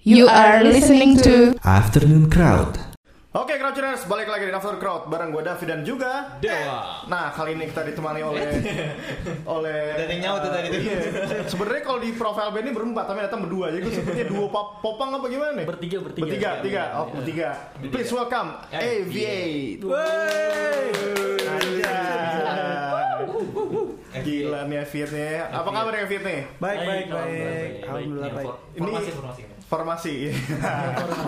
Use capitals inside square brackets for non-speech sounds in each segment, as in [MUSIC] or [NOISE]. You are listening to Afternoon Crowd. Oke Crouchers, balik lagi di After Crowd bareng gue Davi dan juga Dewa. Nah, kali ini kita ditemani oleh [LAUGHS] oleh Ada yang nyaut tuh tadi tuh. Iya. Sebenarnya kalau di profile band ini berempat, tapi datang berdua. Jadi gue sebutnya duo pop popang apa gimana nih? Bertiga, bertiga. Bertiga, Iya, tiga. iya, Eh, Oh, iya. bertiga. Please welcome AVA. Anjay. Gila nih Aviat nih. Apa kabar ya Aviat nih? Baik, baik, baik. Alhamdulillah ya, Ini baik. for- Formasi, Ini- formasi.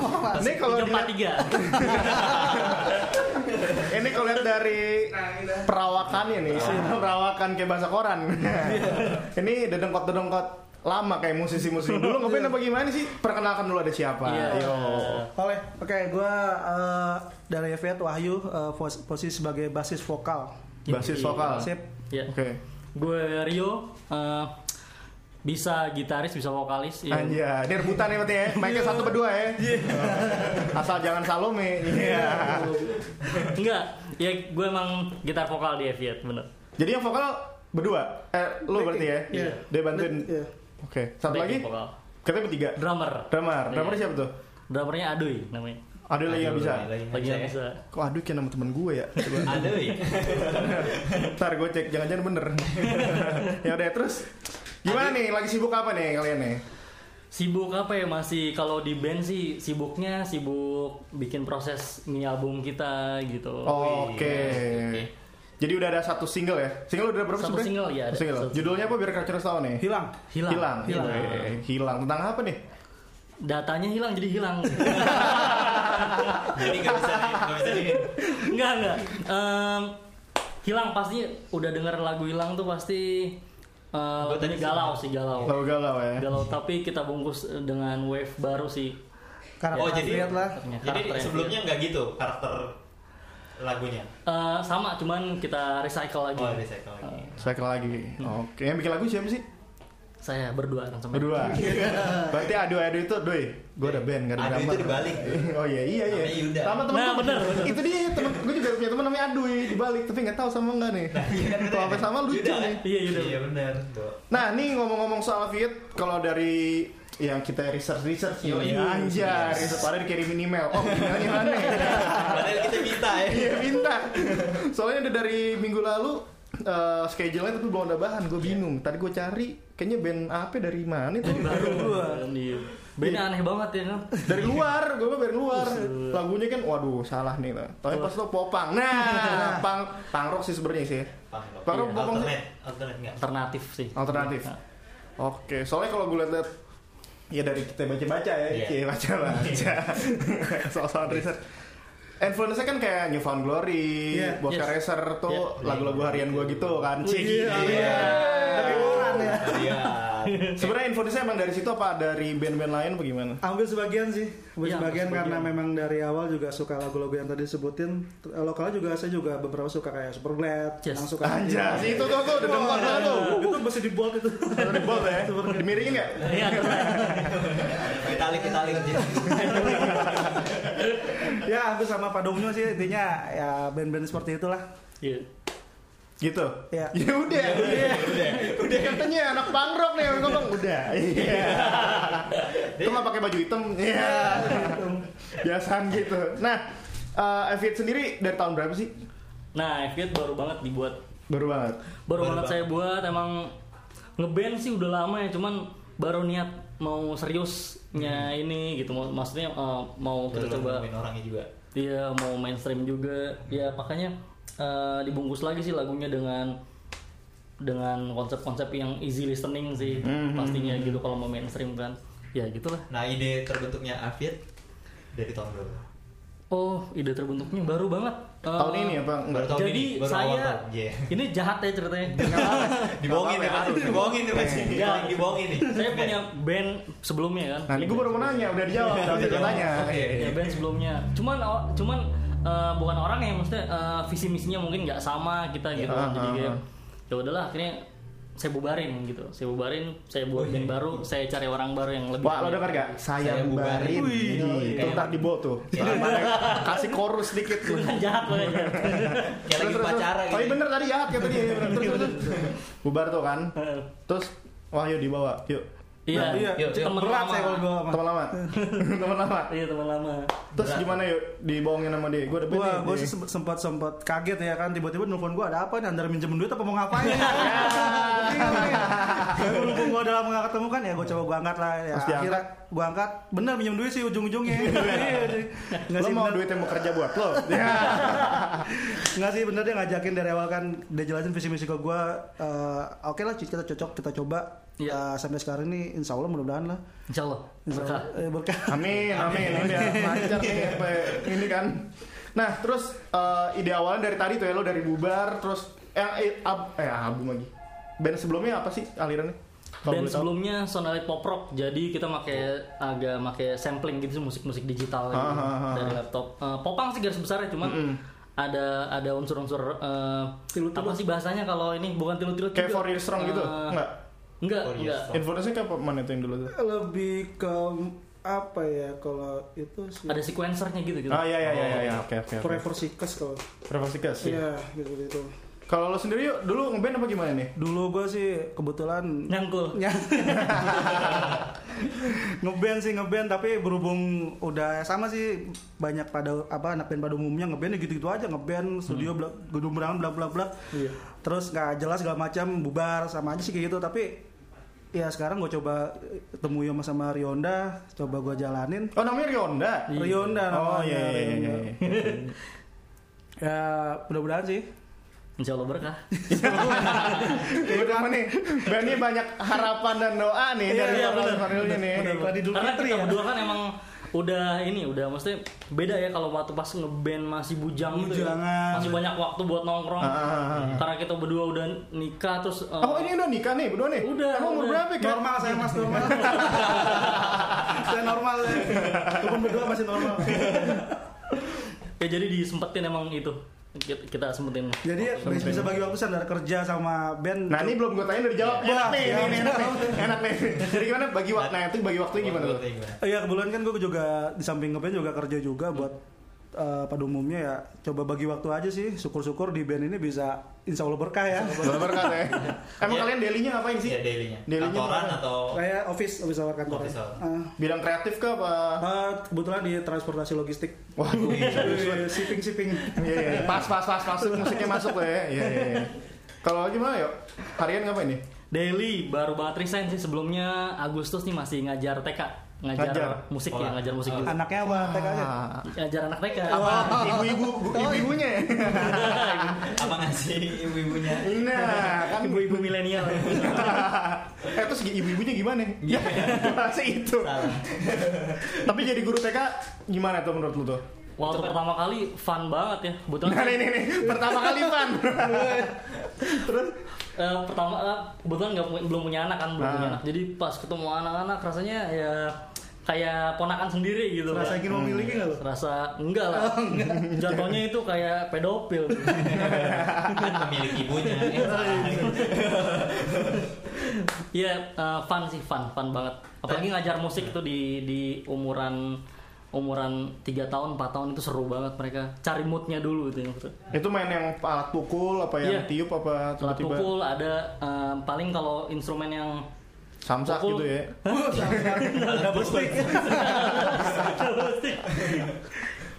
Formasi. Ini kalau Tiga, empat, dilihat- tiga. Ini kalau lihat dari perawakannya nih, sih, [LAUGHS] perawakan kayak bahasa koran. ini dedengkot-dedengkot lama kayak musisi-musisi dulu ngapain apa gimana sih? Perkenalkan dulu ada siapa? Ah, Iya. Iya. Yo. Oleh, oke, gua eh, dari Fiat Wahyu eh, pos- posisi sebagai basis vokal. Basis vokal. Oke. Iya. Sip. Ya. Gue Rio eh, bisa gitaris, bisa vokalis. ya. Anjay, ini rebutan ya berarti ya. Mainnya satu berdua ya. Asal jangan Salome. Iya. [LAUGHS] Enggak, ya gue emang gitar vokal di Eviet, bener. Jadi yang vokal berdua. Eh, lu berarti ya. Iya. Dia bantuin. Iya. Oke. Satu lagi. Backing Vokal. Kita bertiga. Drummer. Drummer. Drummer Iya. siapa tuh? Drummernya Aduy namanya. Ada lagi yang bisa. Lagi ya. yang bisa. Kok aduh kayak nama temen gue ya? [LAUGHS] Coba. Ada iya. ya. [LAUGHS] Ntar gue cek jangan-jangan bener. [LAUGHS] ya udah terus gimana nih? Lagi sibuk apa nih kalian nih? Sibuk apa ya masih kalau di band sih sibuknya sibuk bikin proses mini album kita gitu. Oke. Jadi udah ada satu single ya? Single udah berapa Satu sebenarnya? single, iya, ada. Satu single. Satu single. Judulnya apa biar kalian tahu nih? Hilang. Hilang. Hilang. Hilang. Oke. Hilang. Tentang apa nih? Datanya hilang jadi hilang. [LAUGHS] Jadi nggak bisa nih, nggak bisa nih. Enggak, enggak. Em, hilang pasti udah denger lagu hilang tuh pasti eh, Gua tadi Iya. lagunya galau sih galau. Lagu galau ya. Oh. galau tapi kita bungkus dengan wave baru sih Ya, Karena Oh jadi Fiat lah. Jadi Karakternya. sebelumnya nggak gitu karakter lagunya. Eh, sama cuman kita recycle lagi Oh ada second lagi. Cycle lagi. Hmm. Oke. Yang bikin lagu siapa sih? saya berdua kan sama [LAUGHS] Berdua. Berarti adu adu itu doi. Gue ada band, gak ada Aduh drummer. itu dibalik. Oh [LAUGHS] iya iya iya. Namanya Yuda. Sama temen Nah, gua- bener, bener. Itu dia temen gue juga punya temen namanya Adui dibalik tapi nggak tahu sama enggak nih. Nah, Kalau sampai sama lucu iya, kan Yuda, nih. kan? Iya, Yuda. Iya benar. Tuh. Nah, nih ngomong-ngomong soal Viet, kalau dari yang kita research research Yo, nih, iya. anjay, riset pada dikirimin email. Oh, emailnya mana? [LAUGHS] Padahal kita minta ya. Iya, minta. Soalnya udah dari minggu lalu eh, schedule-nya tapi belum ada bahan, gue bingung. Tadi gue cari, kayaknya band apa dari mana itu? baru [LAUGHS] Iya. bandnya aneh banget ya kan dari luar, gue mah dari luar. Lagunya kan, waduh, salah nih. lah. Tapi pas lo popang, nah, pang, pang rock sih sebenarnya sih. Pang rock, Iya, popang sih. Alternate, alternate nggak? alternatif sih alternatif. Nah, Oke, soalnya kalau gue liat-liat ya dari kita baca-baca ya, Iya. Cie, baca-baca. [LAUGHS] Soal-soal riset. Influence-nya kan kayak Newfound Glory, Iya. Bosca Yes. Racer tuh Iya. lagu-lagu harian gue gitu kan. Cie, Iya. Tapi orang ya. Iya. Sebenarnya influence-nya emang dari situ apa dari band-band lain apa gimana? Ambil sebagian sih, ambil Iya, sebagian, ambil karena sebagian. memang dari awal juga suka lagu-lagu yang tadi sebutin. Lokal juga saya juga beberapa suka kayak Superglad, Yes. yang suka Anjas, itu tuh tuh udah denger banget tuh. Itu masih di bold itu. [LAUGHS] Dari bot ya. Dimiringin enggak? iya Vitalik, Vitalik. ya, hampir sama Padungnya sih intinya ya band-band seperti itulah. Iya. Gitu. Iya. [LAUGHS] Ya udah. Udah. Udah katanya anak punk rock nih, gue bilang udah. [LAUGHS] Iya. Itu nggak pakai baju hitam. Iya. Biasaan gitu. Nah, eh Eviet sendiri dari tahun berapa sih? nah Eviet baru banget dibuat Baru banget. baru, Baru banget saya buat emang ngeband sih udah lama ya cuman baru niat mau seriusnya Hmm. ini gitu Mau- maksudnya eh, mau kita Coba coba orangnya juga. Iya mau mainstream juga ya makanya eh, dibungkus lagi sih lagunya dengan dengan konsep-konsep yang easy listening sih Hmm, pastinya gitu kalau mau mainstream kan ya gitulah Nah ide terbentuknya Afid dari tahun berapa? oh ide terbentuknya baru banget Eh, Tahun ini ya, apa? Enggak. Baru tahun jadi ini. Baru awal saya tahun. Iya. ini jahat ya [LAUGHS] ceritanya Dibohongin ya pasti. Dibohongin ya pasti. Iya. Dibohongin nih. saya punya band sebelumnya kan Nah, ini gue baru mau nanya, udah Iya, dijawab, udah bisa tanya. Oke. Eh. ya band sebelumnya cuman aw- cuman eh, bukan orang yang maksudnya eh, visi misinya mungkin nggak sama kita gitu ah, jadi ah, kayak ah. ya udahlah akhirnya saya bubarin gitu saya bubarin saya buat band baru saya cari orang baru yang lebih Oh, iya. Wah, lo denger gak? Saya Saya bubarin. bubarin. Wih, Iya. Itu Kayak- ntar di bawah tuh. Kasih chorus dikit tuh. [LAUGHS] jahat lo ya Nah, iya. Kayak lagi Terus, terus, pacaran terus. gitu. Tapi bener tadi [LAUGHS] jahat kayak tadi. ya, bener. Terus, terus, terus. Bubar tuh kan. Terus Wahyu dibawa, yuk. Iya, Iya, Yuk, yuk. teman berat lama. saya kalau gue sama. Teman [LAUGHS] lama. Teman lama. Iya, teman lama. Terus gimana yuk dibohongin sama dia? Gue dapet Gue nih. gue dia. sempat sempat kaget ya kan tiba-tiba nelfon gue ada apa nih andar minjem duit apa mau ngapain? [LAUGHS] Ya, Mumpung gue udah lama gak ketemu kan ya gue coba gue angkat lah ya. Pasti angkat. Akhirnya gue angkat bener minjem duit sih [LAUGHS] ujung-ujungnya. Iya, sih. Nggak Lo sih, mau bener. duit yang mau kerja buat [LAUGHS] lo? Ya. Nggak sih bener dia ngajakin dari awal kan dia jelasin visi misi ke gue eh, oke lah Ci, kita cocok kita coba Iya. Eh, sampai sekarang ini insya Allah mudah-mudahan lah Insya Allah. Insya Berkah. Allah. Eh, berkah Amin, amin. Ini biar lancar nih apa ini kan. Nah, terus eh, ide awalnya dari tadi tuh ya lo dari bubar terus eh eh, ab- eh, album lagi. Band sebelumnya apa sih alirannya? Kalau Dan boleh tahu. sebelumnya Sonalite Pop Rock, jadi kita pakai agak pakai sampling gitu musik-musik digital gitu, Ah, ah, ah, dari ah. laptop. Eh, popang sih garis besarnya, cuman ada ada unsur-unsur eh, apa sih bahasanya kalau ini bukan tilu-tilu Eh, Kayak Four Years Strong gitu? Eh, Enggak. Enggak, Four Years enggak. Strong. Influence-nya kayak apa? mana tuh yang dulu tuh? [LAUGHS] lebih ke apa ya kalau itu sih Ada sequencernya gitu gitu. Ah iya iya iya iya oke oke. oke. Oh, forever seekers kalau Prevasikas. Iya, gitu gitu. Kalau lo sendiri yuk dulu ngeband apa gimana nih? Dulu gue sih kebetulan Nyangkul. [LAUGHS] ngeband sih ngeband tapi berhubung udah sama sih banyak pada apa anak band pada umumnya ngeband gitu-gitu aja ngeband studio Hmm. bla- gedung berangan bla bla bla Iya. terus nggak jelas segala macam bubar sama aja sih kayak gitu tapi ya sekarang gue coba eh, temui sama sama Rionda coba gue jalanin Oh namanya Rionda. Rionda Oh namanya, iya iya iya. Rionda. iya. ya mudah-mudahan sih Insya Allah berkah. [LAUGHS] Udah mana nih? Bandnya banyak harapan dan doa nih Iya, dari iya, orang bener. Farelnya nih. Bener, bener. Idul Karena Fitri kita ya? berdua kan emang udah ini udah maksudnya beda ya kalau waktu pas ngeband masih bujang gitu ya. Bujangan. masih banyak waktu buat nongkrong Ah, ah, ah, ah. karena kita berdua udah nikah terus eh, Oh ini udah nikah nih berdua nih. Udah, Emang umur udah. berapa kan? normal saya mas normal saya normal saya Walaupun berdua masih [LAUGHS] normal ya jadi disempetin emang itu kita, kita sempetin jadi bisa, bisa bagi waktu standar kerja sama band Nah ini belum gue tanya dari jawab. Wah, Enak nih, iya, ini, ini, enak nih, enak nih. Jadi gimana bagi waktu? Nah itu bagi waktunya gimana tuh? Waktu gimana? Iya kebetulan kan gue juga di samping ngeband juga kerja juga buat eh, pada umumnya ya coba bagi waktu aja sih syukur-syukur di band ini bisa insya Allah berkah ya Gak berkat ya. Emang Iya. kalian dailynya ngapain sih? Iya, dailynya. Dailynya Kantoran apa? atau kayak office office hour kantor Office hour. Ah. Bidang kreatif ke apa? Eh, kebetulan di transportasi logistik Waduh. [LAUGHS] shipping shipping Iya iya. Pas pas pas masuk musiknya masuk lah ya. Iya iya. iya. Kalau gimana yuk? Harian ngapain nih? daily baru banget resign sih sebelumnya Agustus nih masih ngajar TK ngajar, Ngajar? musik Sekolah. ya ngajar musik dulu anaknya apa TK [LAUGHS] nya Ah, ngajar anak TK Ibu-ibu, bu- ibu-ibunya ya. apa ngasih ibu-ibunya? Nah, kan [LAUGHS] ibu-ibu milenial eh terus ibu-ibunya gimana? Iya. [LAUGHS] Ya, masih itu. Salah. Tapi jadi guru TK gimana tuh menurut lu tuh? waktu pertama kali fun banget ya kebetulan Nah, ini nih, pertama kali [LAUGHS] Pan. terus Eh, pertama eh, kebetulan nggak pu- belum punya anak kan belum Ah. punya anak jadi pas ketemu anak-anak rasanya ya kayak ponakan sendiri gitu kan rasa ingin memiliki nggak Oh, lo rasa enggak lah [LAUGHS] jatuhnya itu kayak [LAUGHS] pedofil Kan pemilik ibunya. Iya, ya eh, fun sih fun fun banget apalagi ngajar musik tuh di di umuran umuran tiga tahun 4 tahun itu seru banget mereka cari moodnya dulu itu yang betul. itu main yang alat pukul apa yang Iya. tiup apa alat tiba-tiba pukul ada eh, paling kalau instrumen yang samsak Pukul. gitu ya. double stick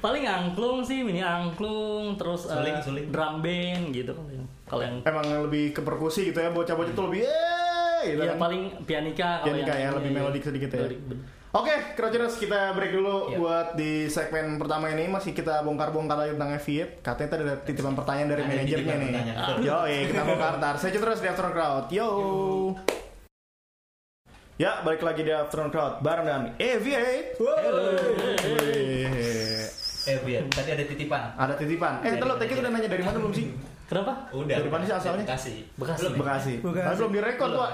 paling angklung sih mini angklung terus eh, Suling, suling. drum band gitu kalau yang Emang lebih ke perkusi gitu ya, bocah-bocah tuh lebih "Yeay!" gitu ya kan. paling pianika kalau Pianika ya, lebih iya, iya. melodik sedikit ya. Melodik, bener. Oke, Crouchers kita break dulu Iya. buat di segmen pertama ini masih kita bongkar-bongkar lagi tentang Fiat. Katanya tadi ada titipan pertanyaan dari Ada manajernya titipan nih. pertanyaan, betul. Yo, kita bongkar ntar. Saya terus di Afternoon Crowd. Yo. Ya, balik lagi di Afternoon Crowd bareng dengan Aviate. Wih. eh, Bian, tadi ada titipan. Ada titipan. Eh, telo, tadi udah nanya dari mana belum sih? kenapa Udah. Dari mana sih asalnya? Bekasi. Bekasi. Belum ya? Bekasi. Bekasi. Tapi belum direkod, Wak.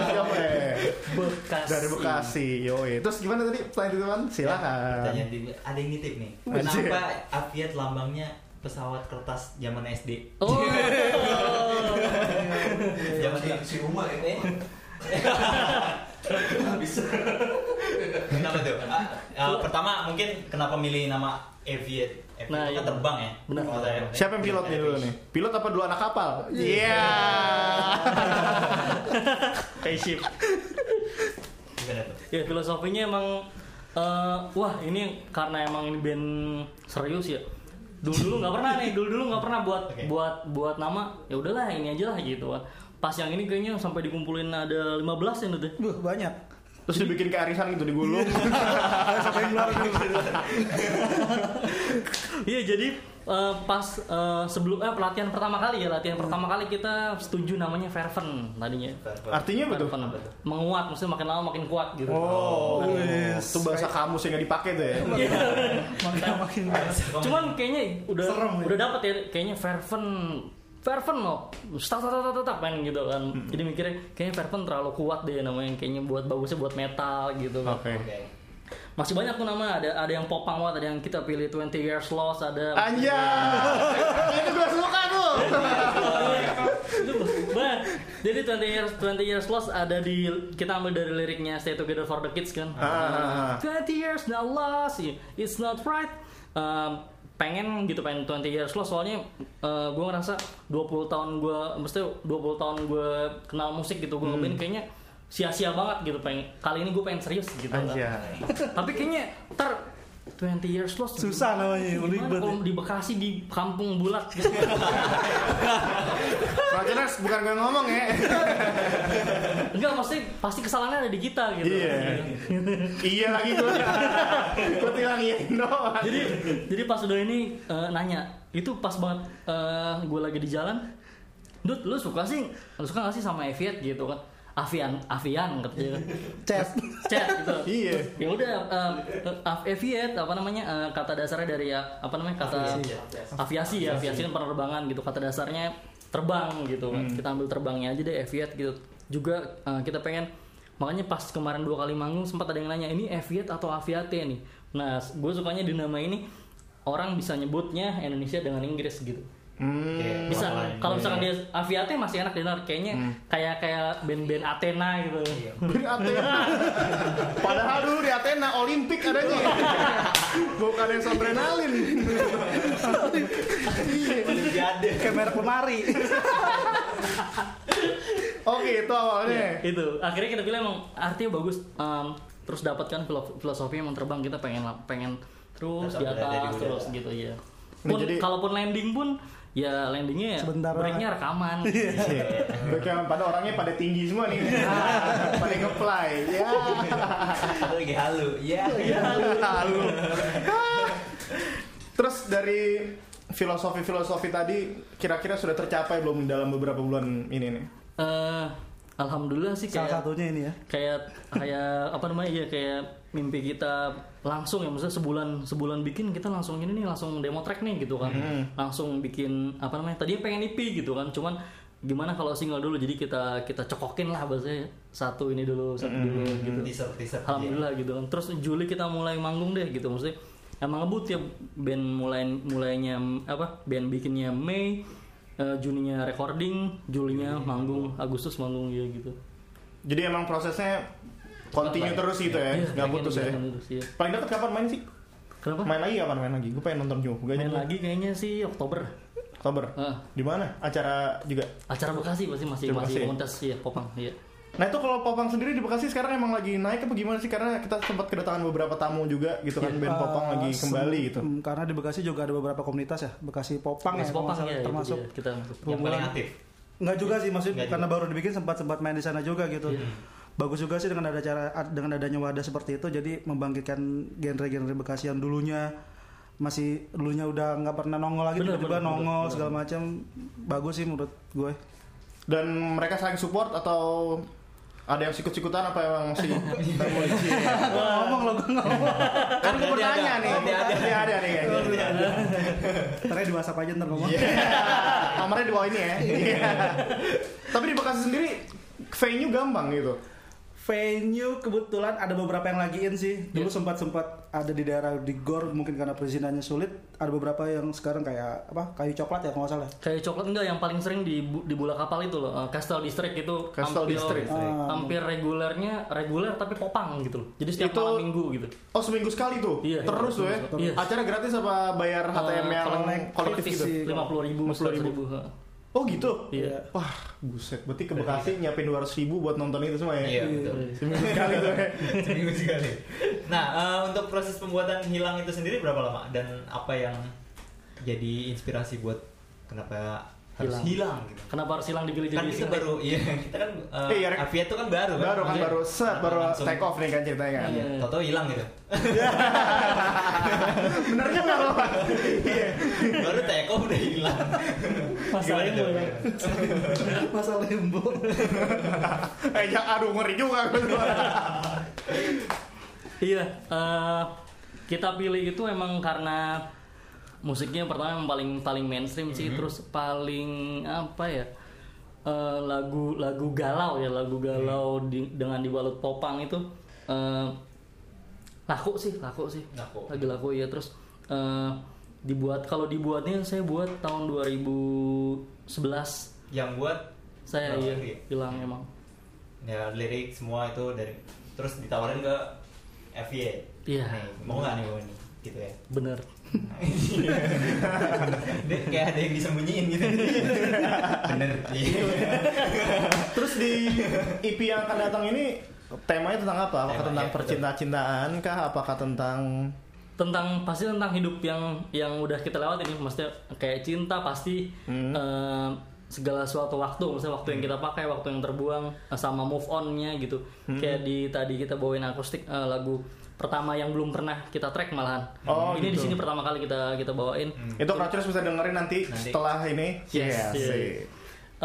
Siapa, eh? bekas Dari Bekasi, Iya, yoi. Terus gimana tadi pertanyaan titipan? Silakan. Pertanyaan di- ada yang nitip nih. Anjir. Kenapa Aviat lambangnya pesawat kertas zaman SD? oh [LAUGHS] iya. [LAUGHS] Zaman di- si rumah ya. Habis. kenapa tuh? Ah, ah, pertama mungkin kenapa milih nama Aviat? Aviat Nah, kan iya. terbang ya. Benar. Kalau saya- Siapa yang pilot nih dulu nih? Pilot Iya. apa dua anak kapal? Iya. spaceship ya filosofinya emang eh, wah ini karena emang ini band serius ya dulu dulu nggak pernah nih dulu dulu nggak pernah buat Oke. buat buat nama ya udahlah ini aja lah gitu kan pas yang ini kayaknya sampai dikumpulin ada ya, 15 yang udah Duh, banyak. Terus dibikin kayak arisan gitu digulung. Sampai yang luar Iya jadi eh, pas eh, sebelum eh pelatihan pertama kali ya latihan pertama kali kita setuju namanya Verven tadinya. Artinya betul. Verven menguat maksudnya makin lama makin kuat gitu. Oh, Verven. itu bahasa kamus yang nggak dipakai tuh ya. Iya. makin makin Cuman kayaknya udah Serem ya. udah dapet ya kayaknya Verven Verven loh, start start start start main gitu kan. Jadi mikirnya kayaknya Verven terlalu kuat deh namanya kayaknya buat bagusnya buat metal gitu. kan. Oke. Oke. Masih banyak tuh nama ada ada yang popang banget, ada yang kita pilih 20 Years Lost, ada Iya. Anjay. itu gue suka tuh. Itu banget. Jadi 20 years 20 years lost ada di kita ambil dari liriknya Stay Together for the Kids kan. Ah. 20 years now lost, it's not right. Um, pengen gitu pengen 20 years lost soalnya gue ngerasa 20 tahun gue mesti 20 tahun gue kenal musik gitu gue Hmm. ngeband kayaknya sia-sia banget gitu pengen kali ini gue pengen serius gitu ah. kan. Anjay. tapi kayaknya ter 20 years lost Susah namanya, gimana ribet kalau ya. di Bekasi di kampung bulat gitu. Rajenas bukan gue ngomong [LAUGHS] ya. Enggak, pasti pasti kesalahannya ada di kita gitu. Iya. iya lagi [LAUGHS] gue. Gue bilang iya doang. Jadi jadi pas udah ini eh, nanya, itu pas banget gue lagi di jalan. Dut, lu suka sih? Lu suka gak sih sama Aviat gitu kan? Avian, Avian katanya kan. chat. Chat gitu. Iya. Ya udah eh, eh, Aviat apa namanya? eh, kata dasarnya dari ya apa namanya? kata Aviasi. aviasi ya, aviasi kan penerbangan gitu. Kata dasarnya terbang gitu Hmm. kan. Kita ambil terbangnya aja deh Aviat gitu. Juga eh, kita pengen makanya pas kemarin dua kali manggung sempat ada yang nanya ini Aviat atau Aviate nih. Nah, gue sukanya di nama ini orang bisa nyebutnya Indonesia dengan Inggris gitu. Hmm. Oke, Bisa warna lain. kalau misalkan dia Aviate masih enak dengar kayaknya Hmm. kayak kayak band-band Athena gitu. Iya. Beri Athena. Padahal dulu di Athena Olimpik adanya. Bukan yang sobrenalin. [LAUGHS] Olimpiade. Kayak merek lemari. Oke itu awalnya. itu akhirnya kita bilang emang artinya bagus em, terus dapatkan filo- filosofi emang terbang kita pengen pengen terus Tetap di berada di atas udara. terus gitu ya Nah, pun jadi- kalaupun landing pun ya landingnya ya Sebentar breaknya rekaman [LAUGHS] Iya. Mereka pada orangnya pada tinggi semua nih. pada ngeplay. Ya. Aku lagi halu. Ya. Iya, Lalu. Terus dari filosofi-filosofi tadi kira-kira sudah tercapai belum dalam beberapa bulan ini nih? Eh, alhamdulillah sih Salah kayak satunya ini ya. kayak kayak apa namanya ya kayak mimpi kita langsung ya maksudnya sebulan sebulan bikin kita langsung ini nih langsung demo track nih gitu kan Hmm. langsung bikin apa namanya tadinya pengen EP gitu kan cuman gimana kalau single dulu jadi kita kita cekokin lah bahasanya satu ini dulu satu Hmm. dulu gitu Teaser, teaser. alhamdulillah gitu kan terus Juli kita mulai manggung deh gitu maksudnya emang ngebut ya band mulai mulainya apa band bikinnya Mei eh, Juninya recording Julinya manggung Agustus manggung ya gitu Jadi emang prosesnya continue terus gitu ya, Iya, nggak pengen putus ya. gerakan terus, iya. Paling dekat kapan main sih? Kenapa? Main, Main lagi kapan main lagi? Gue pengen nonton juga jadi lagi kayaknya sih Oktober. Oktober. Heeh. Di mana? Acara juga. acara Bekasi pasti masih Acara masih Bekasi. komunitas ya Popang iya. Nah itu kalau Popang sendiri di Bekasi sekarang emang lagi naik apa gimana sih? Karena kita sempat kedatangan beberapa tamu juga gitu kan band Popang Eh, lagi sem- kembali gitu. mm, Karena di Bekasi juga ada beberapa komunitas ya. Bekasi Popang Mas ya, kalau nggak Popang salah, ya itu termasuk Iya. dia, kita masuk. Yang paling aktif. Enggak juga sih maksudnya Nggak karena baru dibikin sempat sempat main di sana juga gitu. Bagus juga sih dengan ada cara dengan adanya wadah seperti itu jadi membangkitkan genre-genre Bekasi yang dulunya masih dulunya udah nggak pernah nongol lagi Bener, tiba-tiba bener, nongol bener, segala macam bagus sih menurut gue. Dan mereka saling support atau ada yang sikut-sikutan apa emang masih Gue ngomong loh gue ngomong. kan gue Nanti bertanya ada. nih Nanti ada. nanti ada iya, nih kayaknya Ntar ya di WhatsApp aja ntar ngomong. nomornya Nah, di bawah ini ya tapi di Bekasi sendiri venue gampang gitu Venue kebetulan ada beberapa yang lagiin sih. Dulu Iya. sempat sempat ada di daerah di Gor mungkin karena perizinannya sulit. Ada beberapa yang sekarang kayak apa kayu coklat ya kalau nggak salah. Kayak coklat enggak yang paling sering di bu- di bola kapal itu loh. eh, Castle District itu Castle hampir, District. Ah. hampir regulernya reguler tapi Popang gitu loh. Jadi setiap Itu- malam minggu gitu. Oh seminggu sekali tuh, Iya, terus iya, tuh ya. iya. Eh, Acara gratis apa bayar HTM yang kolektif gitu? sih. lima puluh ribu, 50.000. ribu. Oh gitu? Iya. Wah, buset. Berarti ke Bekasi nyiapin 200 ribu buat nonton itu semua ya? Iya, betul. Seminggu sekali tuh ya. Seminggu sekali. Nah, eh, untuk proses pembuatan hilang itu sendiri berapa lama dan apa yang jadi inspirasi buat kenapa harus hilang, gitu? Kenapa harus hilang dipilih Kan jadi kita single? baru, iya kita kan eh, Iya, Rek. Aviat tuh kan baru kan. Baru kan Iya. baru set, baru Langsung. take off nih kan ceritanya kan. Iya, Toto hilang [LAUGHS] gitu. Bener kan kalau baru take off udah hilang. Masalahnya Gimana tuh? mulai. ya. Masa lembo. Eh, ya, aduh ngeri juga. Iya, eh, kita pilih itu emang karena musiknya pertama yang paling paling mainstream sih, terus paling apa ya eh, lagu lagu galau ya lagu galau di- dengan dibalut popang itu eh, laku sih laku sih Laku. lagi laku ya terus eh, dibuat kalau dibuatnya saya buat tahun 2011 Yang buat saya Berapa iya, lagi ya? bilang emang ya lirik semua itu dari terus ditawarin ke FY. Iya. Nih, mau nggak nih mau nih gitu ya. bener Dia kayak ada yang disembunyiin gitu. Bener. Iya. Terus di EP yang akan datang ini temanya tentang apa? Apakah Temanya, tentang betul. percinta-cintaan kah? Apakah tentang tentang pasti tentang hidup yang yang udah kita lewat ini maksudnya kayak cinta pasti Hmm. eh, segala suatu waktu maksudnya waktu yang kita pakai waktu yang terbuang eh, sama move onnya gitu Hmm. kayak di tadi kita bawain akustik eh, lagu pertama yang belum pernah kita track malahan Oh, ini di gitu. sini pertama kali kita kita bawain itu Crouchers bisa dengerin nanti, Hmm. Nanti. setelah ini. Yes, Iya, yes. sih. Eh,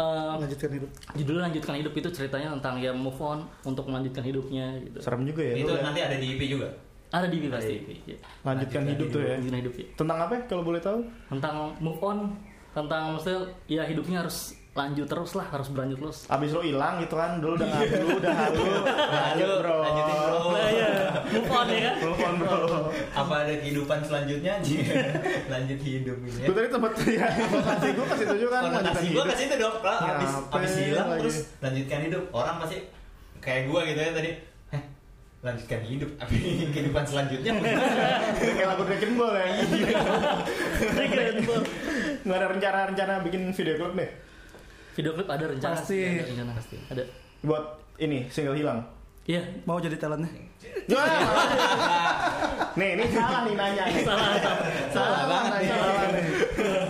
Hmm. Lanjutkan hidup. judulnya lanjutkan hidup itu ceritanya tentang ya move on untuk melanjutkan hidupnya gitu Serem juga ya. Itu lu udah nanti ada di EP juga. ada di pasti ya. lanjutkan hidup tuh ya. Lanjutkan hidup ya Tentang apa ya, kalau boleh tahu? tentang move on tentang maksudnya ya hidupnya harus lanjut terus lah harus berlanjut terus Abis lo hilang gitu kan, dulu [LAUGHS] udah ngadu, udah halu, lanjut Lanjut, bro. Nah, Iya. iya. lanjutin Iya. bro. Oh, move on ya kan Telepon bro. Apa ada kehidupan selanjutnya? Lanjut hidup ini. Gue tadi tempat ya, konotasi gue kasih tujuh kan. lanjutan Konotasi gue hidup. kasih itu dong. Lah, habis Ngapain habis hilang lagi? terus lanjutkan hidup. Orang pasti kayak gue gitu ya tadi. Heh, lanjutkan hidup. Apa [LAUGHS] ini kehidupan selanjutnya? kan. Kayak lagu Dragon Ball ya. Iya. [LAUGHS] Keren banget. Nggak ada rencana-rencana bikin video klip nih video klip ada rencana Pasti. ada rencana pasti ada buat ini single hilang. iya Mau jadi talentnya? [LAUGHS] nih, ini salah nih nanya. nih. salah salah. Salah banget nih. Salah nih.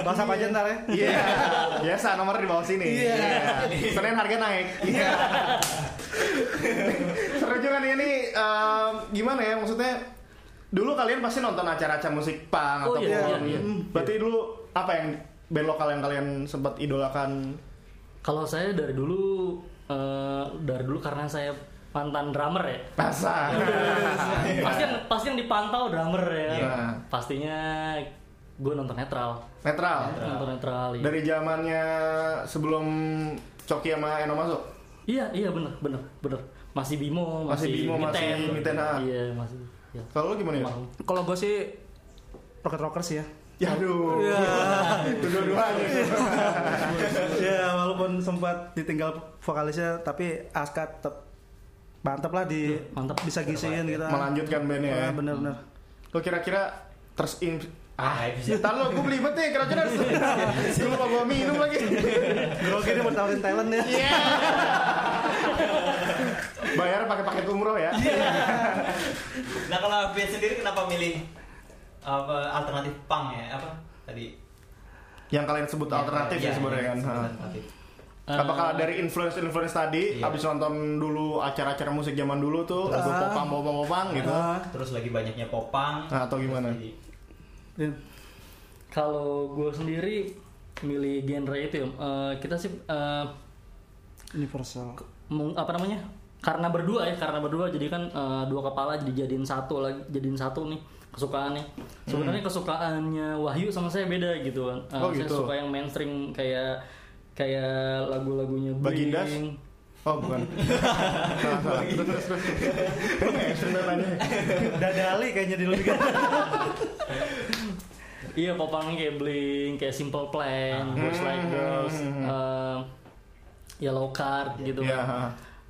Bahasa apa aja ntar ya? Iya. Biasa nomor di bawah sini. Iya. Senin harga naik. Iya. Seru juga nih ini em, gimana ya maksudnya? Dulu kalian pasti nonton acara-acara musik punk Oh, atau iya, punk. iya, iya. Berarti dulu apa yang band lokal yang kalian sempat idolakan? kalau saya dari dulu eh, dari dulu karena saya mantan drummer [LAUGHS] ya Rasa. Iya. pasti yang pasti yang dipantau drummer ya Iya. pastinya gue nonton netral Netral. nonton netral iya Dari zamannya sebelum Coki sama Eno masuk. iya, iya bener bener bener masih Bimo Masih masih, Bimo, masih Miten. Miten, ah. iya masih ya. Kalau lu gimana ya? Almarhum. Kalau gue sih Rocket Rockers ya. Ya aduh. [LAUGHS] Iya. Itu dua-duanya. [LAUGHS] ya walaupun sempat ditinggal vokalisnya tapi Aska tetap Iya, mantep Iya, lah di mantep. bisa gisiin kita. Melanjutkan bandnya ya. Ya, bener-bener. Lo kira-kira tersin Ah, bisa. Ntar lo, gue beli bete kira-kira [LAUGHS] Gue lupa bawa minum lagi Grogi dia mau tawarin talent ya. Iya. Bayar pakai paket umroh ya Iya. Nah kalau Avian sendiri kenapa milih apa alternatif punk ya apa tadi? Yang kalian sebut alternatif ya Iya, sebenarnya kan sebut Ha. alternatif. Eh, Apakah dari influence-influence tadi Iya. Ah. Abis nonton dulu acara-acara musik zaman dulu tuh Lagu popang, popang, popang gitu Ah, Terus lagi banyaknya popang. Nah, atau gimana? Terus jadi- Din. Kalau gue sendiri milih genre itu ya, eh, kita sih eh, universal. meng- apa namanya? Karena berdua ya, karena berdua jadi kan eh, dua kepala jadi jadiin satu lagi, jadiin satu nih kesukaannya. Sebenarnya kesukaannya Wahyu sama saya beda gitu kan. Eh, Hmm. Oh, saya gitu. suka yang mainstream kayak kayak lagu-lagunya Blink. Bagindas? Oh bukan Salah, salah. [LAUGHS] Terus, terus, terus. Sebentar tanya. Dadali kayaknya di lebih kan. Iya, popangnya kayak Blink, kayak Simple Ah. Hmm. Plan, Boys Like Girls, eh, Yellow Card gitu. Iya kan. ha.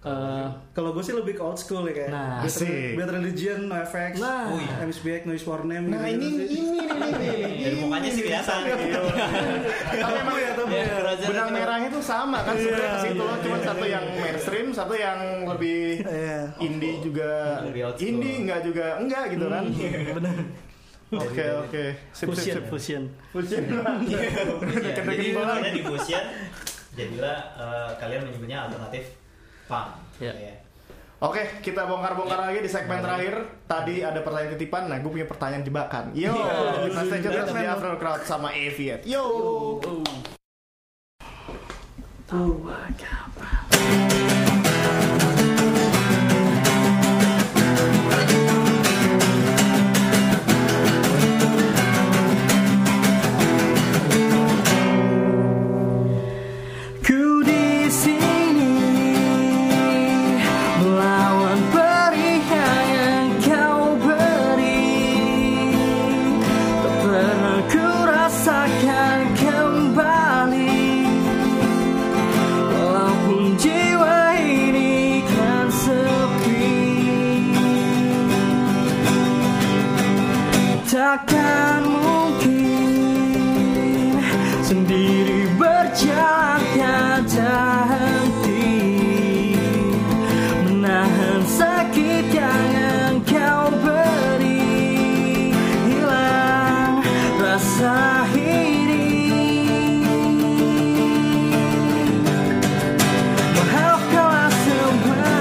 eh, Kalau gue sih lebih ke old school ya kayak. Nah. Bad- Asik. Bad Religion, No Effects, Nah. oh, iya. MSBX, Noise War Name. Nah ini ini gitu-gitu sih. ini ini ini. Dari mukanya sih kelihatan. Iya, Iya, Tapi emang ya Ya, Raja- Iya. benang merahnya tuh sama kan sebenarnya ke situ loh. Cuman satu yang mainstream, satu yang lebih Iya. indie juga. Lebih old school. Indie enggak juga enggak gitu kan. Hmm. Iya. bener. [LAUGHS] Oke oke. Sip fusion sip sip. fusion [LAUGHS] Fusion. Iya, Jadi Deket-deketin banget. ada di fusion, jadilah eh, kalian menyebutnya alternatif punk. Iya. Iya. Oke, kita bongkar-bongkar lagi di segmen terakhir. Tadi ada pertanyaan titipan, nah gue punya pertanyaan jebakan. Yo, Iya. kita stay tune terus di Afro Crowd sama Aviat. Yo. Ku di sini melawan pilihan yang kau beri. Tak pernah ku rasakan kembali, walaupun jiwa ini kan sepi. Takkan mungkin sendiri berjalan tiada henti Menahan sakit yang engkau beri Hilang rasa ini Maafkanlah semua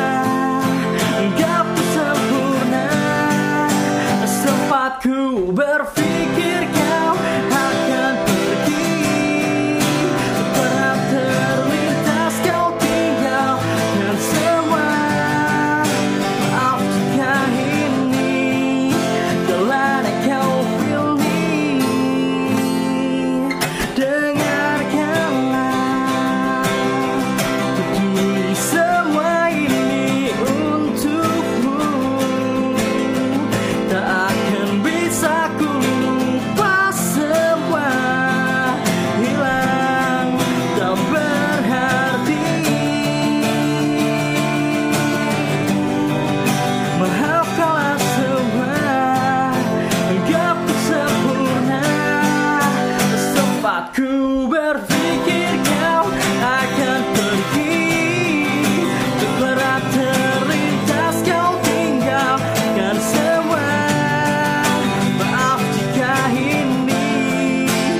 Hingga sempurna Sempatku berpikir kau akan pergi Pernah terlintas kau tinggalkan semua Apakah ini telah kau pilih Dengarkanlah Peduli semua ini untukmu Tak akan bisa ku lupa semua Hilang tak berarti Maafkanlah semua Hingga sempurna Sempatku berpikir kau akan pergi Terberat terlintas kau tinggalkan semua Maaf jika ini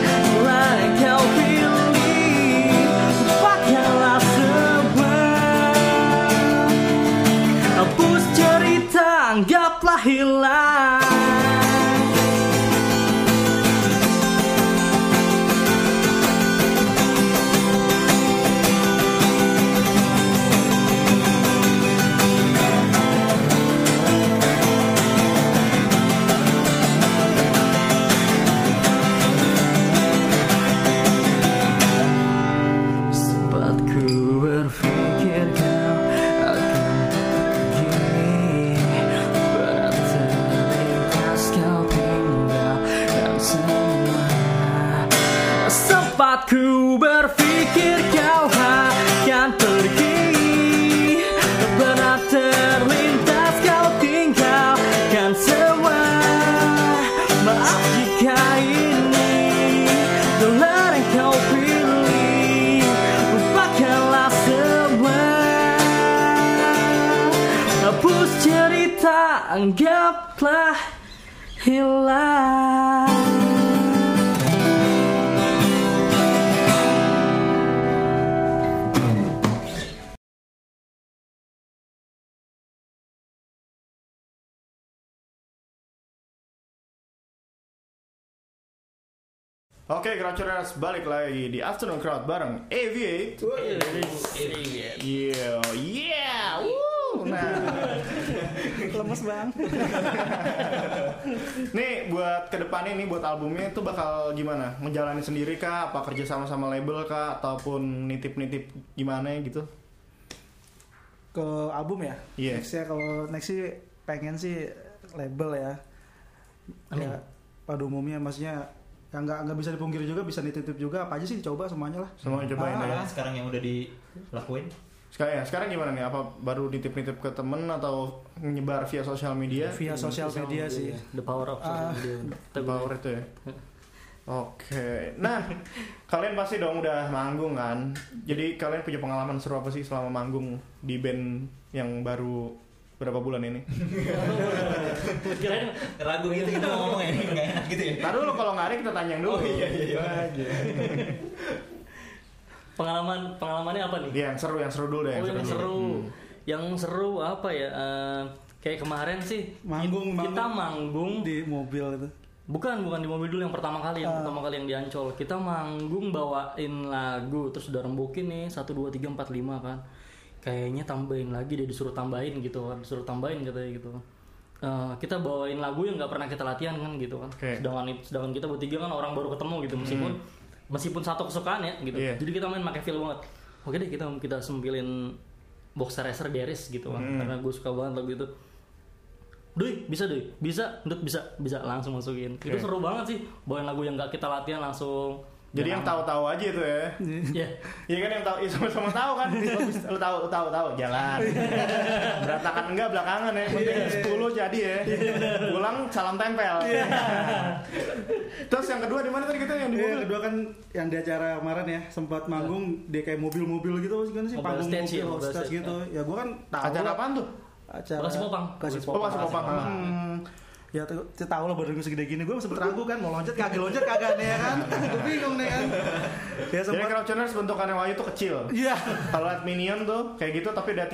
telah kau pilih Lupakanlah semua Hapus cerita, anggaplah hilang Sempat ku berpikir kau akan pergi Berat terlintas kau tinggalkan semua Sempat ku berpikir kau akan pergi Berat terlintas kau tinggalkan semua Maaf jika ini telah kau pilih Lupakanlah semua Hapus cerita Anggaplah hilang Oke, Crouchers balik lagi di Afternoon Crowd bareng Aviat. Yeah, yeah. Woo. Nah, Lemes bang. nih buat kedepannya nih buat albumnya itu bakal gimana? Menjalani sendiri kah? Apa kerja sama sama label kah? Ataupun nitip-nitip gimana gitu? Ke album ya. Iya. Next ya kalau next sih pengen sih label ya. Amin. Ya, pada umumnya maksudnya yang nggak nggak bisa dipungkiri juga bisa dititip juga apa aja sih dicoba semuanya lah. Semuanya cobain Ah, ya. Nah, sekarang yang udah dilakuin Sekarang ya, sekarang gimana nih? Apa baru nitip-nitip ke temen atau nyebar via sosial media? via sosial media sih The power Ah. of social media. Kata gue. Power itu ya. Oke. Nah, [LAUGHS] kalian pasti dong udah manggung kan? Jadi kalian punya pengalaman seru apa sih selama manggung di band yang baru berapa bulan ini? Kirain Ragu gitu kita mau ngomong ini nggak enak gitu ya. Taruh dulu kalau nggak ada kita tanya yang dulu. Oh, iya, iya, iya. Aja. pengalaman pengalamannya apa nih? Dia Iya, yang seru, yang seru dulu deh. Oh, yang dulu. seru. Hmm. Yang seru apa ya? Eh, kayak kemarin sih Manggung, ki- kita manggung. manggung di mobil itu bukan bukan di mobil dulu yang pertama kali yang pertama kali yang diancol kita manggung bawain lagu terus udah rembukin nih satu dua tiga empat lima kan kayaknya tambahin lagi dia disuruh tambahin gitu kan disuruh tambahin katanya gitu Eh, kita bawain lagu yang nggak pernah kita latihan kan gitu kan Oke. sedangkan sedangkan kita bertiga kan orang baru ketemu gitu meskipun meskipun satu kesukaan ya gitu Iya. jadi kita main pakai feel banget oke deh kita kita sempilin boxer racer deris gitu kan karena gue suka banget lagu itu Duy, bisa duy, bisa, Ndut bisa, bisa langsung masukin. Iya. Itu seru banget sih, bawain lagu yang nggak kita latihan langsung. Jadi [LAUGHS] yang tahu-tahu aja itu ya. Ya, Iya kan yang tahu, ya sama-sama tahu [LAUGHS] kan. Lo bisa- Lo tahu, lo tahu, tahu [LAUGHS] jalan. Berantakan enggak belakangan ya. Penting 10 jadi ya. Pulang salam tempel. [LAUGHS] Terus yang kedua di mana tadi kita yang di Iya, mobil? yang kedua kan yang di acara kemarin ya sempat manggung di kayak mobil-mobil gitu maksudnya sih Mobile panggung stage ya, mobil hot mobile stage stage, gitu ya gue kan tahu Acara lah. apaan tuh? acara Bekasi Popang. Bekasi Oh, Popang. masih popang. Hmm, ya tuh, saya tahu lah badan gue segede gini gue sempet ragu kan mau loncat kagak loncat kagak nih ya kan [LAUGHS] gue bingung nih kan ya Jadi sempat Crowdtuners bentukannya Wahyu tuh kecil. iya Kalau lihat Minion tuh kayak gitu tapi udah 30.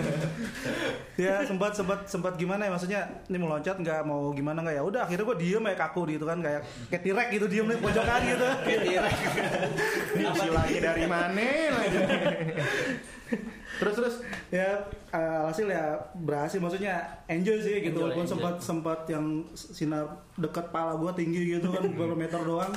[LAUGHS] ya sempat sempat sempat gimana ya maksudnya ini mau loncat nggak mau gimana nggak ya udah akhirnya gue diem ya kaku gitu kan kayak kayak tirek gitu diem di pojokan gitu Diisi lagi dari mana [LAUGHS] lagi. Terus terus ya eh, alhasil ya berhasil maksudnya enjoy sih gitu Enjoy, walaupun enjoy. sempat sempat yang sinar dekat pala gua tinggi gitu kan beberapa meter doang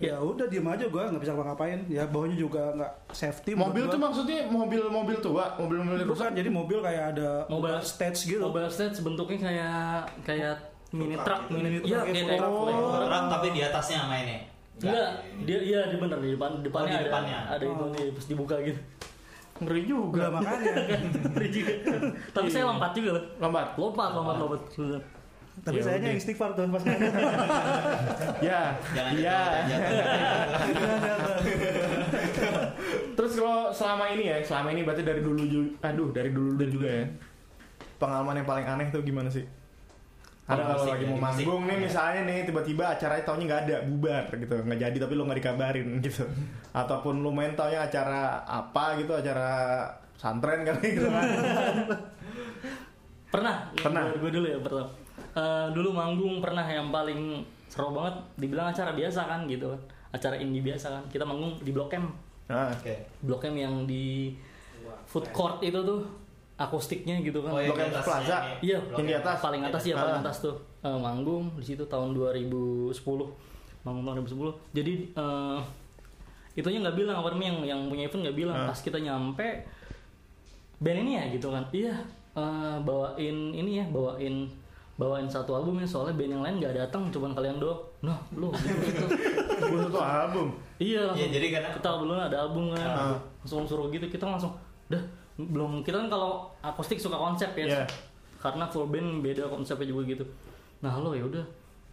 ya udah diem aja gua nggak bisa ngapa-ngapain ya bawahnya juga nggak safety menurut mobil gua. tuh maksudnya mobil-mobil tua, mobil-mobil rusak. bukan kan jadi mobil kayak ada Mobile. stage gitu mobile stage bentuknya kayak kayak mini truck, mini Mini Iya, truck, kayak kayak kayak- food Oh. kayak- truck. Orang tapi di atasnya mainnya. Enggak, dia iya di bener di depan depannya, Oh, di depannya. ada, ada itu nih terus dibuka gitu. Ngeri Udah, juga. [LAUGHS] Iya. makanya [LAUGHS] Ya Ngeri juga. Tapi saya lompat juga. Bud. Lambat. Lompat, lompat, lompat. tapi Ya sayanya udah. istighfar tuh pas ngeliat. Ya. Jangan Iya. jatuh-jatuh. Terus kalau selama ini ya, selama ini berarti dari dulu juga, aduh dari dulu dulu juga ya. Pengalaman yang paling aneh tuh gimana sih? Ada Di kalau musik, lagi ya, mau di musik. manggung nih Iya. misalnya nih tiba-tiba acaranya tahunnya nggak ada bubar gitu nggak jadi tapi lo nggak dikabarin [LAUGHS] gitu ataupun lo main taunya acara apa gitu acara santren kali gitu [LAUGHS] kan Pernah? Pernah. Gue dulu ya pernah. Eh, dulu manggung pernah yang paling seru banget dibilang acara biasa kan gitu kan. Acara indie biasa kan. Kita manggung di Blok M. nah, Oke. Blok M yang di food court itu tuh akustiknya gitu kan. Oh, yang Blok di M atasnya Plaza. nih. Iya, Blok yang di M. atas. paling atas ya, paling Ah. atas tuh. Eh, manggung di situ tahun 2010. Manggung tahun 2010. Jadi eh itunya nggak bilang apa namanya, yang yang punya event nggak bilang. Ah. Pas kita nyampe band ini ya gitu kan. Iya, eh, bawain ini ya, bawain bawain satu album ya soalnya band yang lain nggak datang cuman kalian doang nah lu gitu, [LAUGHS] gitu. gue tuh ah, album iya Iya, langsung jadi karena kita belum ada album kan Ah. langsung suruh gitu kita langsung dah belum kita kan kalau akustik suka konsep ya Iya. karena full band beda konsepnya juga gitu nah lo ya udah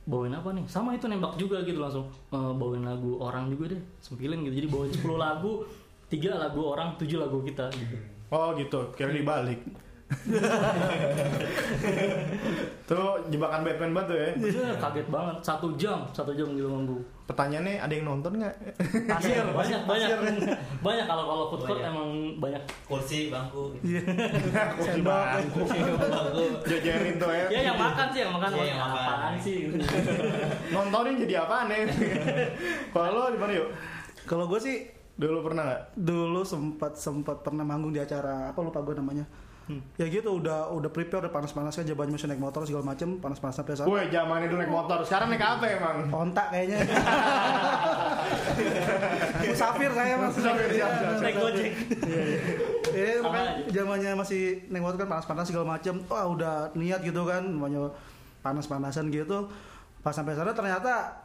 bawain apa nih sama itu nembak juga gitu langsung e, bawain lagu orang juga deh sempilin gitu jadi bawain 10 lagu tiga lagu orang tujuh lagu kita gitu Oh gitu, kira dibalik. tuh jebakan Batman banget tuh ya. Bener, kaget banget satu jam satu jam gitu manggung Pertanyaannya ada yang nonton nggak? Pasir, banyak banyak banyak kalau kalau food court Banyak. emang banyak Kursi, bangku. gitu. [LAUGHS] Sendok. bangku. Jajarin tuh ya. ya yang makan sih yang makan Iya, yang "Wah, makan." apaan sih Nontonin jadi apa nih? Kalau lo di mana yuk? [LAUGHS] kalau gue sih Dulu pernah nggak? dulu sempat sempat pernah manggung di acara apa lupa gue namanya Hmm. ya gitu udah udah prepare udah panas-panas aja banyak naik motor segala macem panas-panas sampai sana Gue zamannya dulu naik motor, sekarang naik apa emang? [LAUGHS] ontak kayaknya musafir saya mas Musafir, siap, siap, siap. naik gojek Iya, Sama makanya aja. zamannya masih naik motor kan panas-panas segala macam. Wah, udah niat gitu kan, namanya panas-panasan gitu. Pas sampai sana ternyata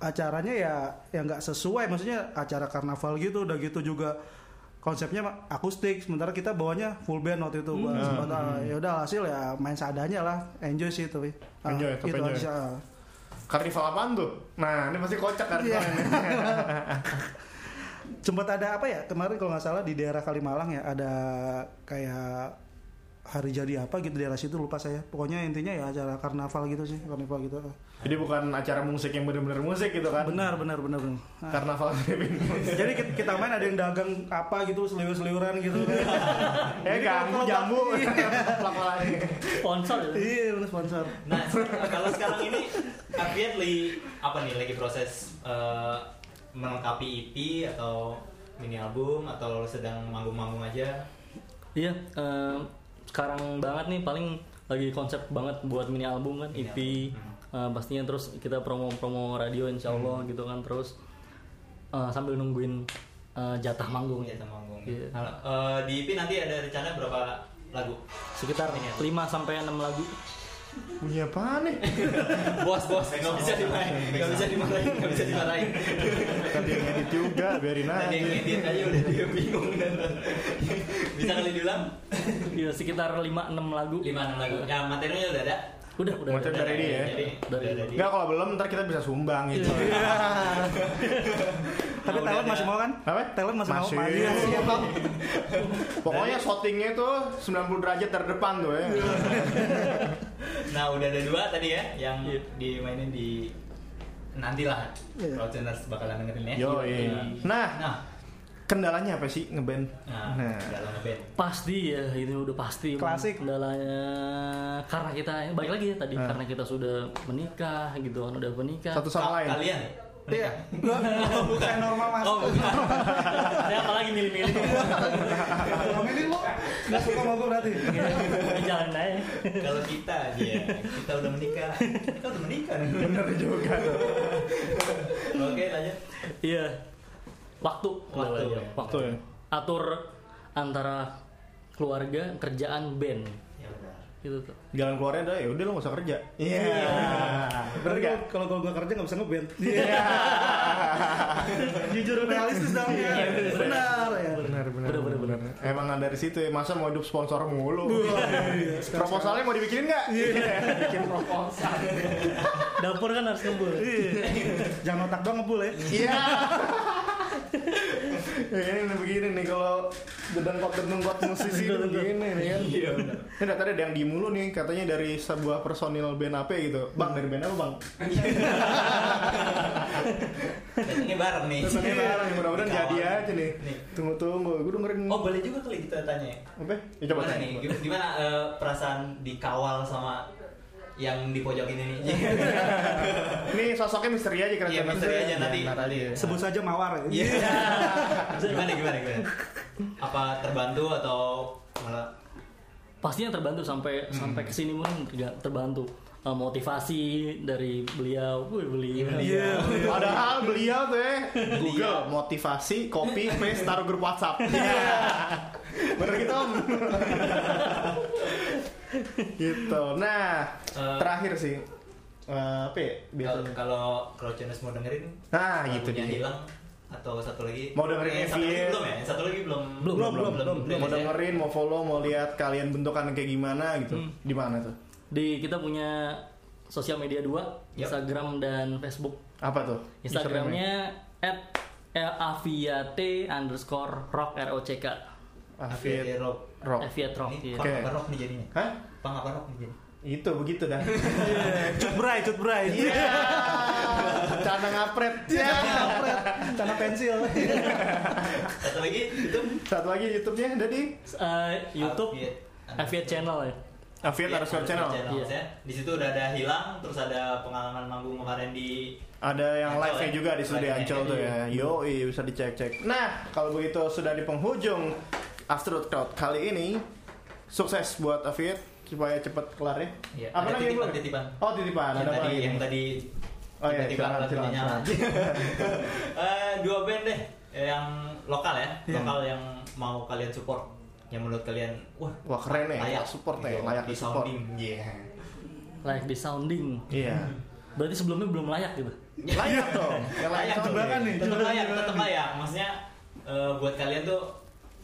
acaranya ya ya nggak sesuai maksudnya acara karnaval gitu udah gitu juga konsepnya akustik sementara kita bawanya full band Hmm. waktu itu gua sempat, ah, ya udah hasil ya main seadanya lah enjoy sih tapi Ah, Enjoy, tetap gitu enjoy. aja. Ah. Karnival apaan tuh? Nah, ini pasti kocak karnival Iya. [LAUGHS] ini. sempat ada apa ya kemarin kalau nggak salah di daerah Kalimalang ya ada kayak hari jadi apa gitu daerah situ lupa saya pokoknya intinya ya acara karnaval gitu sih karnaval gitu Jadi bukan acara musik yang bener-bener musik gitu kan? benar benar benar benar Ah. Karnaval Filipin. jadi kita, kita main ada yang dagang apa gitu seliur seliuran gitu eh ganggu jamu. Pelak-pelaknya. Sponsor ya. iya benar sponsor Nah, kalau sekarang ini Afiatly apa nih lagi proses eh, melengkapi EP atau mini album atau sedang manggung-manggung aja? Iya, eh, sekarang banget nih paling lagi konsep banget buat mini album kan, Mini EP album, eh, pastinya terus kita promo-promo radio insya Allah gitu kan terus eh, sambil nungguin eh, jatah manggung ya Kegiatan manggung. Iya. Halo, eh, di EP nanti ada rencana berapa lagu? sekitar Mini album. 5 sampai 6 lagu. Punya apa nih? Bos, bos, nggak bisa dimarahin, nggak bisa dimarahin, nggak bisa dimarahin. Tadi yang edit juga, biarin Tadi yang aja. ngedit aja udah dia bingung dan bisa kali diulang Iya, sekitar 5 6 lagu. lima enam lagu. Ya materinya udah ada. Udah, udah. Macam udah. dari dia ya. Jadi Dari- udah Enggak kalau belum ntar kita bisa sumbang gitu. tapi udah ya. talent ada. masih mau kan Apa? talent masih, Masih. mau Iya, siapa? Pokoknya shootingnya tuh 90 derajat dari depan tuh ya. Nah udah ada dua tadi ya yang Iya. dimainin di nantilah Iya. Rotuners bakalan dengerin ya. Yo, Iya. Nah, Nah, kendalanya apa sih ngeband? nah, Nah, dalam ngeband. Pasti ya, ini udah pasti. Klasik. Kendalanya karena kita balik lagi ya tadi karena kita sudah menikah gitu kan, udah menikah. satu sama lain. Kalian iya bukan normal mas Oh, bukan. Saya apalagi milih-milih Kalau milih lu nggak suka sama gue berarti jalan aja. kalau kita aja ya, kita udah menikah. Kita udah menikah. Bener juga tuh. Oke, lanjut. Iya. Waktu, Waktu, kendalanya. ya. waktu. Tuh. Atur antara keluarga, kerjaan, band Ya benar. gitu tuh. Jalan keluarnya adalah ya udah lo gak usah kerja. Iya. Bener gak? kalau gue nggak kerja nggak bisa ngeband Iya. [LAUGHS] jujur realistis dong ya benar ya Benar, benar, Bener, benar, bener, benar. Emang dari situ ya, masa mau hidup sponsor mulu? Proposalnya mau dibikinin gak? Iya. Bikin proposal. Dapur kan harus ngebul. Iya. jangan otak doang ngebul ya Iya. Ya, Ini begini nih kalau dedengkot-dedengkot musisi itu begini nih kan. Iya benar. Ini dari- tadi ada yang diem mulu nih katanya dari sebuah personil band apa gitu. Bang dari band apa bang? Datangnya bareng nih. Terus nanti bareng, mudah-mudahan Kawan. jadi aja nih. Nih. Tunggu-tunggu, gue dengerin. Oh, boleh juga kali kita tanya ya. Apa? Ya coba Gimana tanya. nih? Gim- Gimana eh, perasaan dikawal sama yang di pojok ini nih? [LAUGHS] Ini sosoknya misteri aja kira-kira. Iya, misteri aja nanti. Ya, Nanti. sebut saja mawar ya. Iya. gimana gimana gimana? Apa terbantu atau malah pastinya terbantu sampai sampai ke sini pun juga terbantu Eh, motivasi dari beliau, wih beliau. Iya. [LAUGHS] Padahal beliau tuh ya Google Beliau. motivasi copy paste taruh grup WhatsApp. Iya. Bener gitu om. gitu. Nah, Eh. terakhir sih. Eh, apa ya? kalau- Biasanya. kalau Crocenes mau dengerin Nah, gitu lagunya dia. hilang atau satu lagi Mau dengerin Eh, satu Evie. lagi belum ya Yang satu lagi belum Belum, belum, belum, ya? Mau dengerin, mau follow, mau lihat kalian bentukan kayak gimana gitu. Di mana tuh? Di kita punya sosial media dua, Yap. Instagram dan Facebook. Apa tuh? Instagramnya at aviate underscore rock r o c k Afid Rock Rock. Aviate rock. ini iya. pang Oke. apa rock nih jadinya Hah? pang apa rock nih jadinya Itu begitu [LAUGHS] dah. cut bray cut bray Iya. Cana ngapret. Ya. tanah [LAUGHS] pensil satu lagi itu Satu lagi YouTube-nya tadi Eh, YouTube Aviate. Aviate channel ya. Afid Iya, Underscore Channel. Iya. ya. Di situ udah ada hilang, terus ada pengalaman manggung kemarin di Ada yang Ancol live-nya ya? juga di studio Live-nya, Ancol tuh iya. ya. Yo, bisa dicek-cek. Nah, kalau begitu sudah di penghujung Astro Crowd kali ini. Sukses buat Afid supaya cepet kelar ya. Iya, Apa ada lagi yang titipan, belum? titipan. Oh, titipan. yang Ada apa tadi lagi? yang tadi Oh iya, tiba-tiba silakan, lagunya silakan, nyala. [LAUGHS] Eh, dua band deh yang lokal ya, Iya. lokal yang mau kalian support, yang menurut kalian wah Wah, keren ya. layak support ya, Gitu, layak di di support. sounding. Iya. Live di sounding. [LAUGHS] Iya. Berarti sebelumnya belum layak gitu. Layak dong. Yang layak Layak dong. jebakan nih, Tetap jebakan, layak, jebakan. tetap layak. Maksudnya eh, buat kalian tuh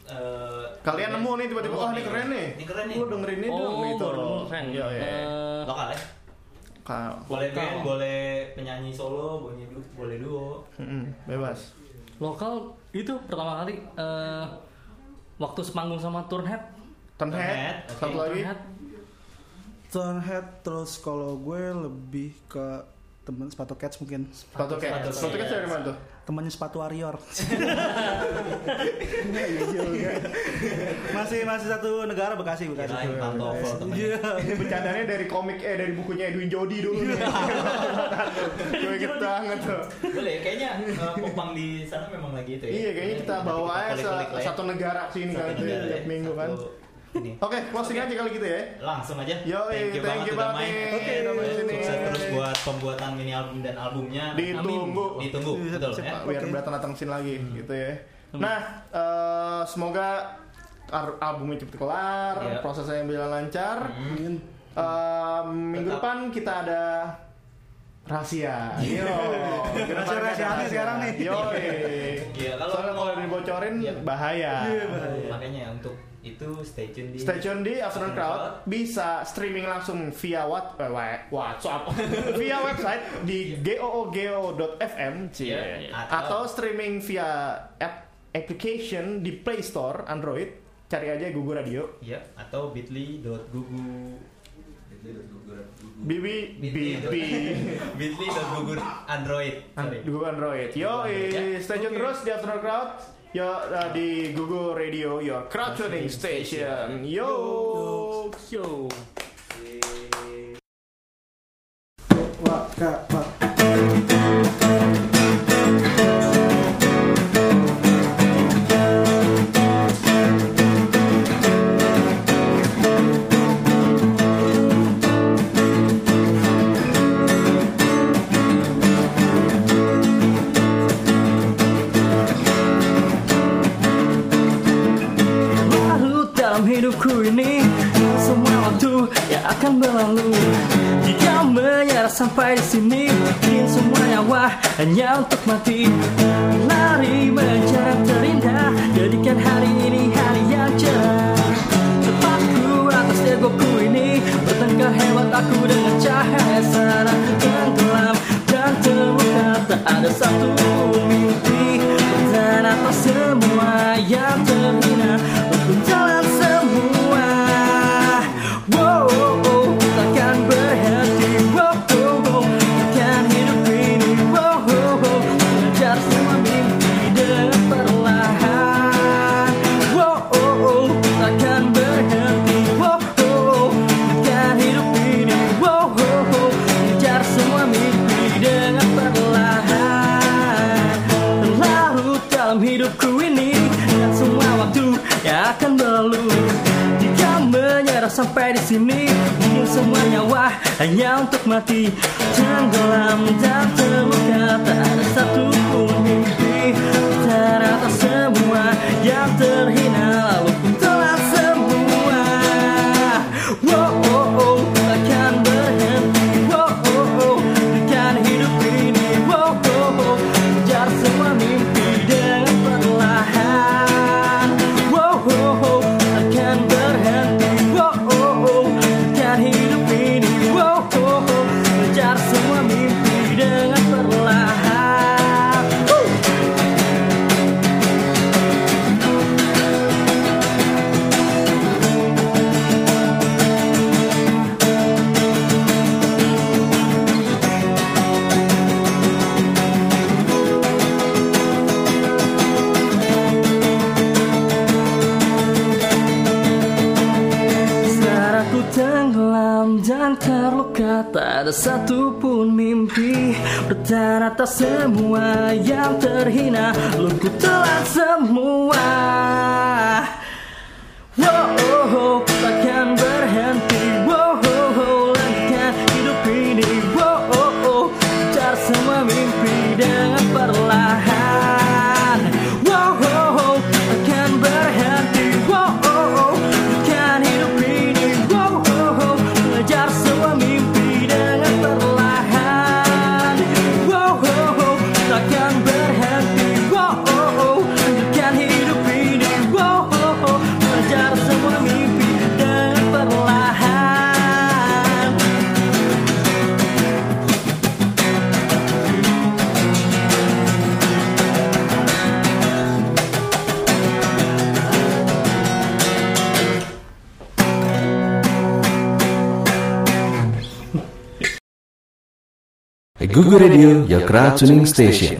eh, Kalian keren. nemu nih tiba-tiba, Nemu wah ini keren nih. Ini keren nih. Gua dengerin ini dong oh, gitu. baru keren. Iya, iya. Eh, Lokal ya. Ka- Boleh Lokal. band, boleh penyanyi solo, boleh duo, boleh duo. Mm-mm, bebas. lokal itu pertama kali eh, waktu sepanggung sama Turnhead. Turnhead, Turnhead, satu oke. lagi. Turnhead Turnhead terus kalau gue lebih ke temen sepatu cats mungkin Sepatu Sepatu Cats. Cats. Sepatu Cats dari mana tuh? temannya sepatu warrior Iya, masih masih satu negara bekasi bekasi Kirain pantofel temennya. Iya. [LAUGHS] Ini bercandanya dari komik, eh dari bukunya Edwin Jody dulu [LAUGHS] nih. Gue inget banget tuh. Boleh, kayaknya eh, popang di sana memang lagi itu ya. Iya, kayaknya kita Nanti bawa aja kulik-kulik lah sa- ya. satu negara sini Satu kan tuh negara tiap ya, minggu kan. satu ini. Oke, closing aja kali gitu ya. Langsung aja. Yo, thank you banget Damai. nih. Oke, Eh, sini. Sukses terus buat pembuatan mini album dan albumnya. Ditunggu. Iya, Ditunggu, betul ya. Hmm. biar datang datang sini lagi gitu ya. Nah, eh, semoga ar- albumnya cepet kelar, Iya. prosesnya yang berjalan lancar. Mungkin. Eh, minggu Tetap. depan kita ada rahasia. Yo, minggu depan kita ada Rahasia-rahasiaan nih sekarang nih. Yo, Iya, kalau- soalnya kalau dibocorin Iya. bahaya. Makanya untuk itu stay tune di Stay tune di Afternoon Crowd bisa streaming langsung via what, eh, wa- WhatsApp [LAUGHS] via website di googo.fm cie. Iya. Iya. atau streaming via app application di Play Store Android cari aja Gugu Radio ya atau bit.ly.gugu Bibi Bibi [LAUGHS] bit.ly.gugu android. Sorry. Gugu Android yo eh, stay tune terus di Afternoon Crowd yo eh, di Gugu Radio your crowd tuning station yo. Show. Wah, Kak, Pak. Baru dalam hidupku ini Semua waktu yang akan berlalu Jika menyerah sampai di sini Mungkin semua nyawa hanya untuk mati Lari mencari yang terindah Jadikan hari ini hari yang cerah Tepatku atas egoku ini Bertengkar hebat aku dengan cahaya sana Tenggelam dan terbuka Tak ada satu mimpi Dan atas semua yang terbina Untuk jalan semua Wow, wow, wow, takkan berhenti Wow, wow, wow, takkan hidup ini Wow, wow, wow, mengejar semua mimpi dengan perlahan Wow, oh, oh, takkan berhenti. Wow, oh, oh, takkan hidup ini. Wow, oh, oh, kejar semua mimpi dengan perlahan. Larut dalam hidupku ini dan semua waktu yang akan berlalu. Jika menyerah sampai di sini, mungkin semua nyawa hanya untuk mati. Tenggelam dan terluka tak ada satu pun mimpi teratas semua yang terhina lalu pun telat semua wow oh, oh, takkan berhenti wow oh, oh, takkan hidup ini wow oh, oh, kejar semua mimpi dengan perlahan wow oh, oh, takkan berhenti wow oh, oh, takkan hidup ini wow oh, oh, kejar semua mimpi dengan perlahan Woo! Saat aku tenggelam dan terluka Tak ada satupun mimpi Bertahan atas semua yang terhina Luku telan semua Wow, oh, oh, takkan berhenti Wow, oh, oh, lanjutkan hidup ini Wow, oh, oh, kejar semua mimpi dengan perlahan Wow, oh, oh, takkan berhenti Wow, oh, oh, takkan hidup ini Wow, oh, oh, kejar semua mimpi dengan perlahan Wow, oh, oh, takkan berhenti Wow, oh, oh, lanjutkan hidup ini Wow, oh, Google Radio, your crowd tuning station.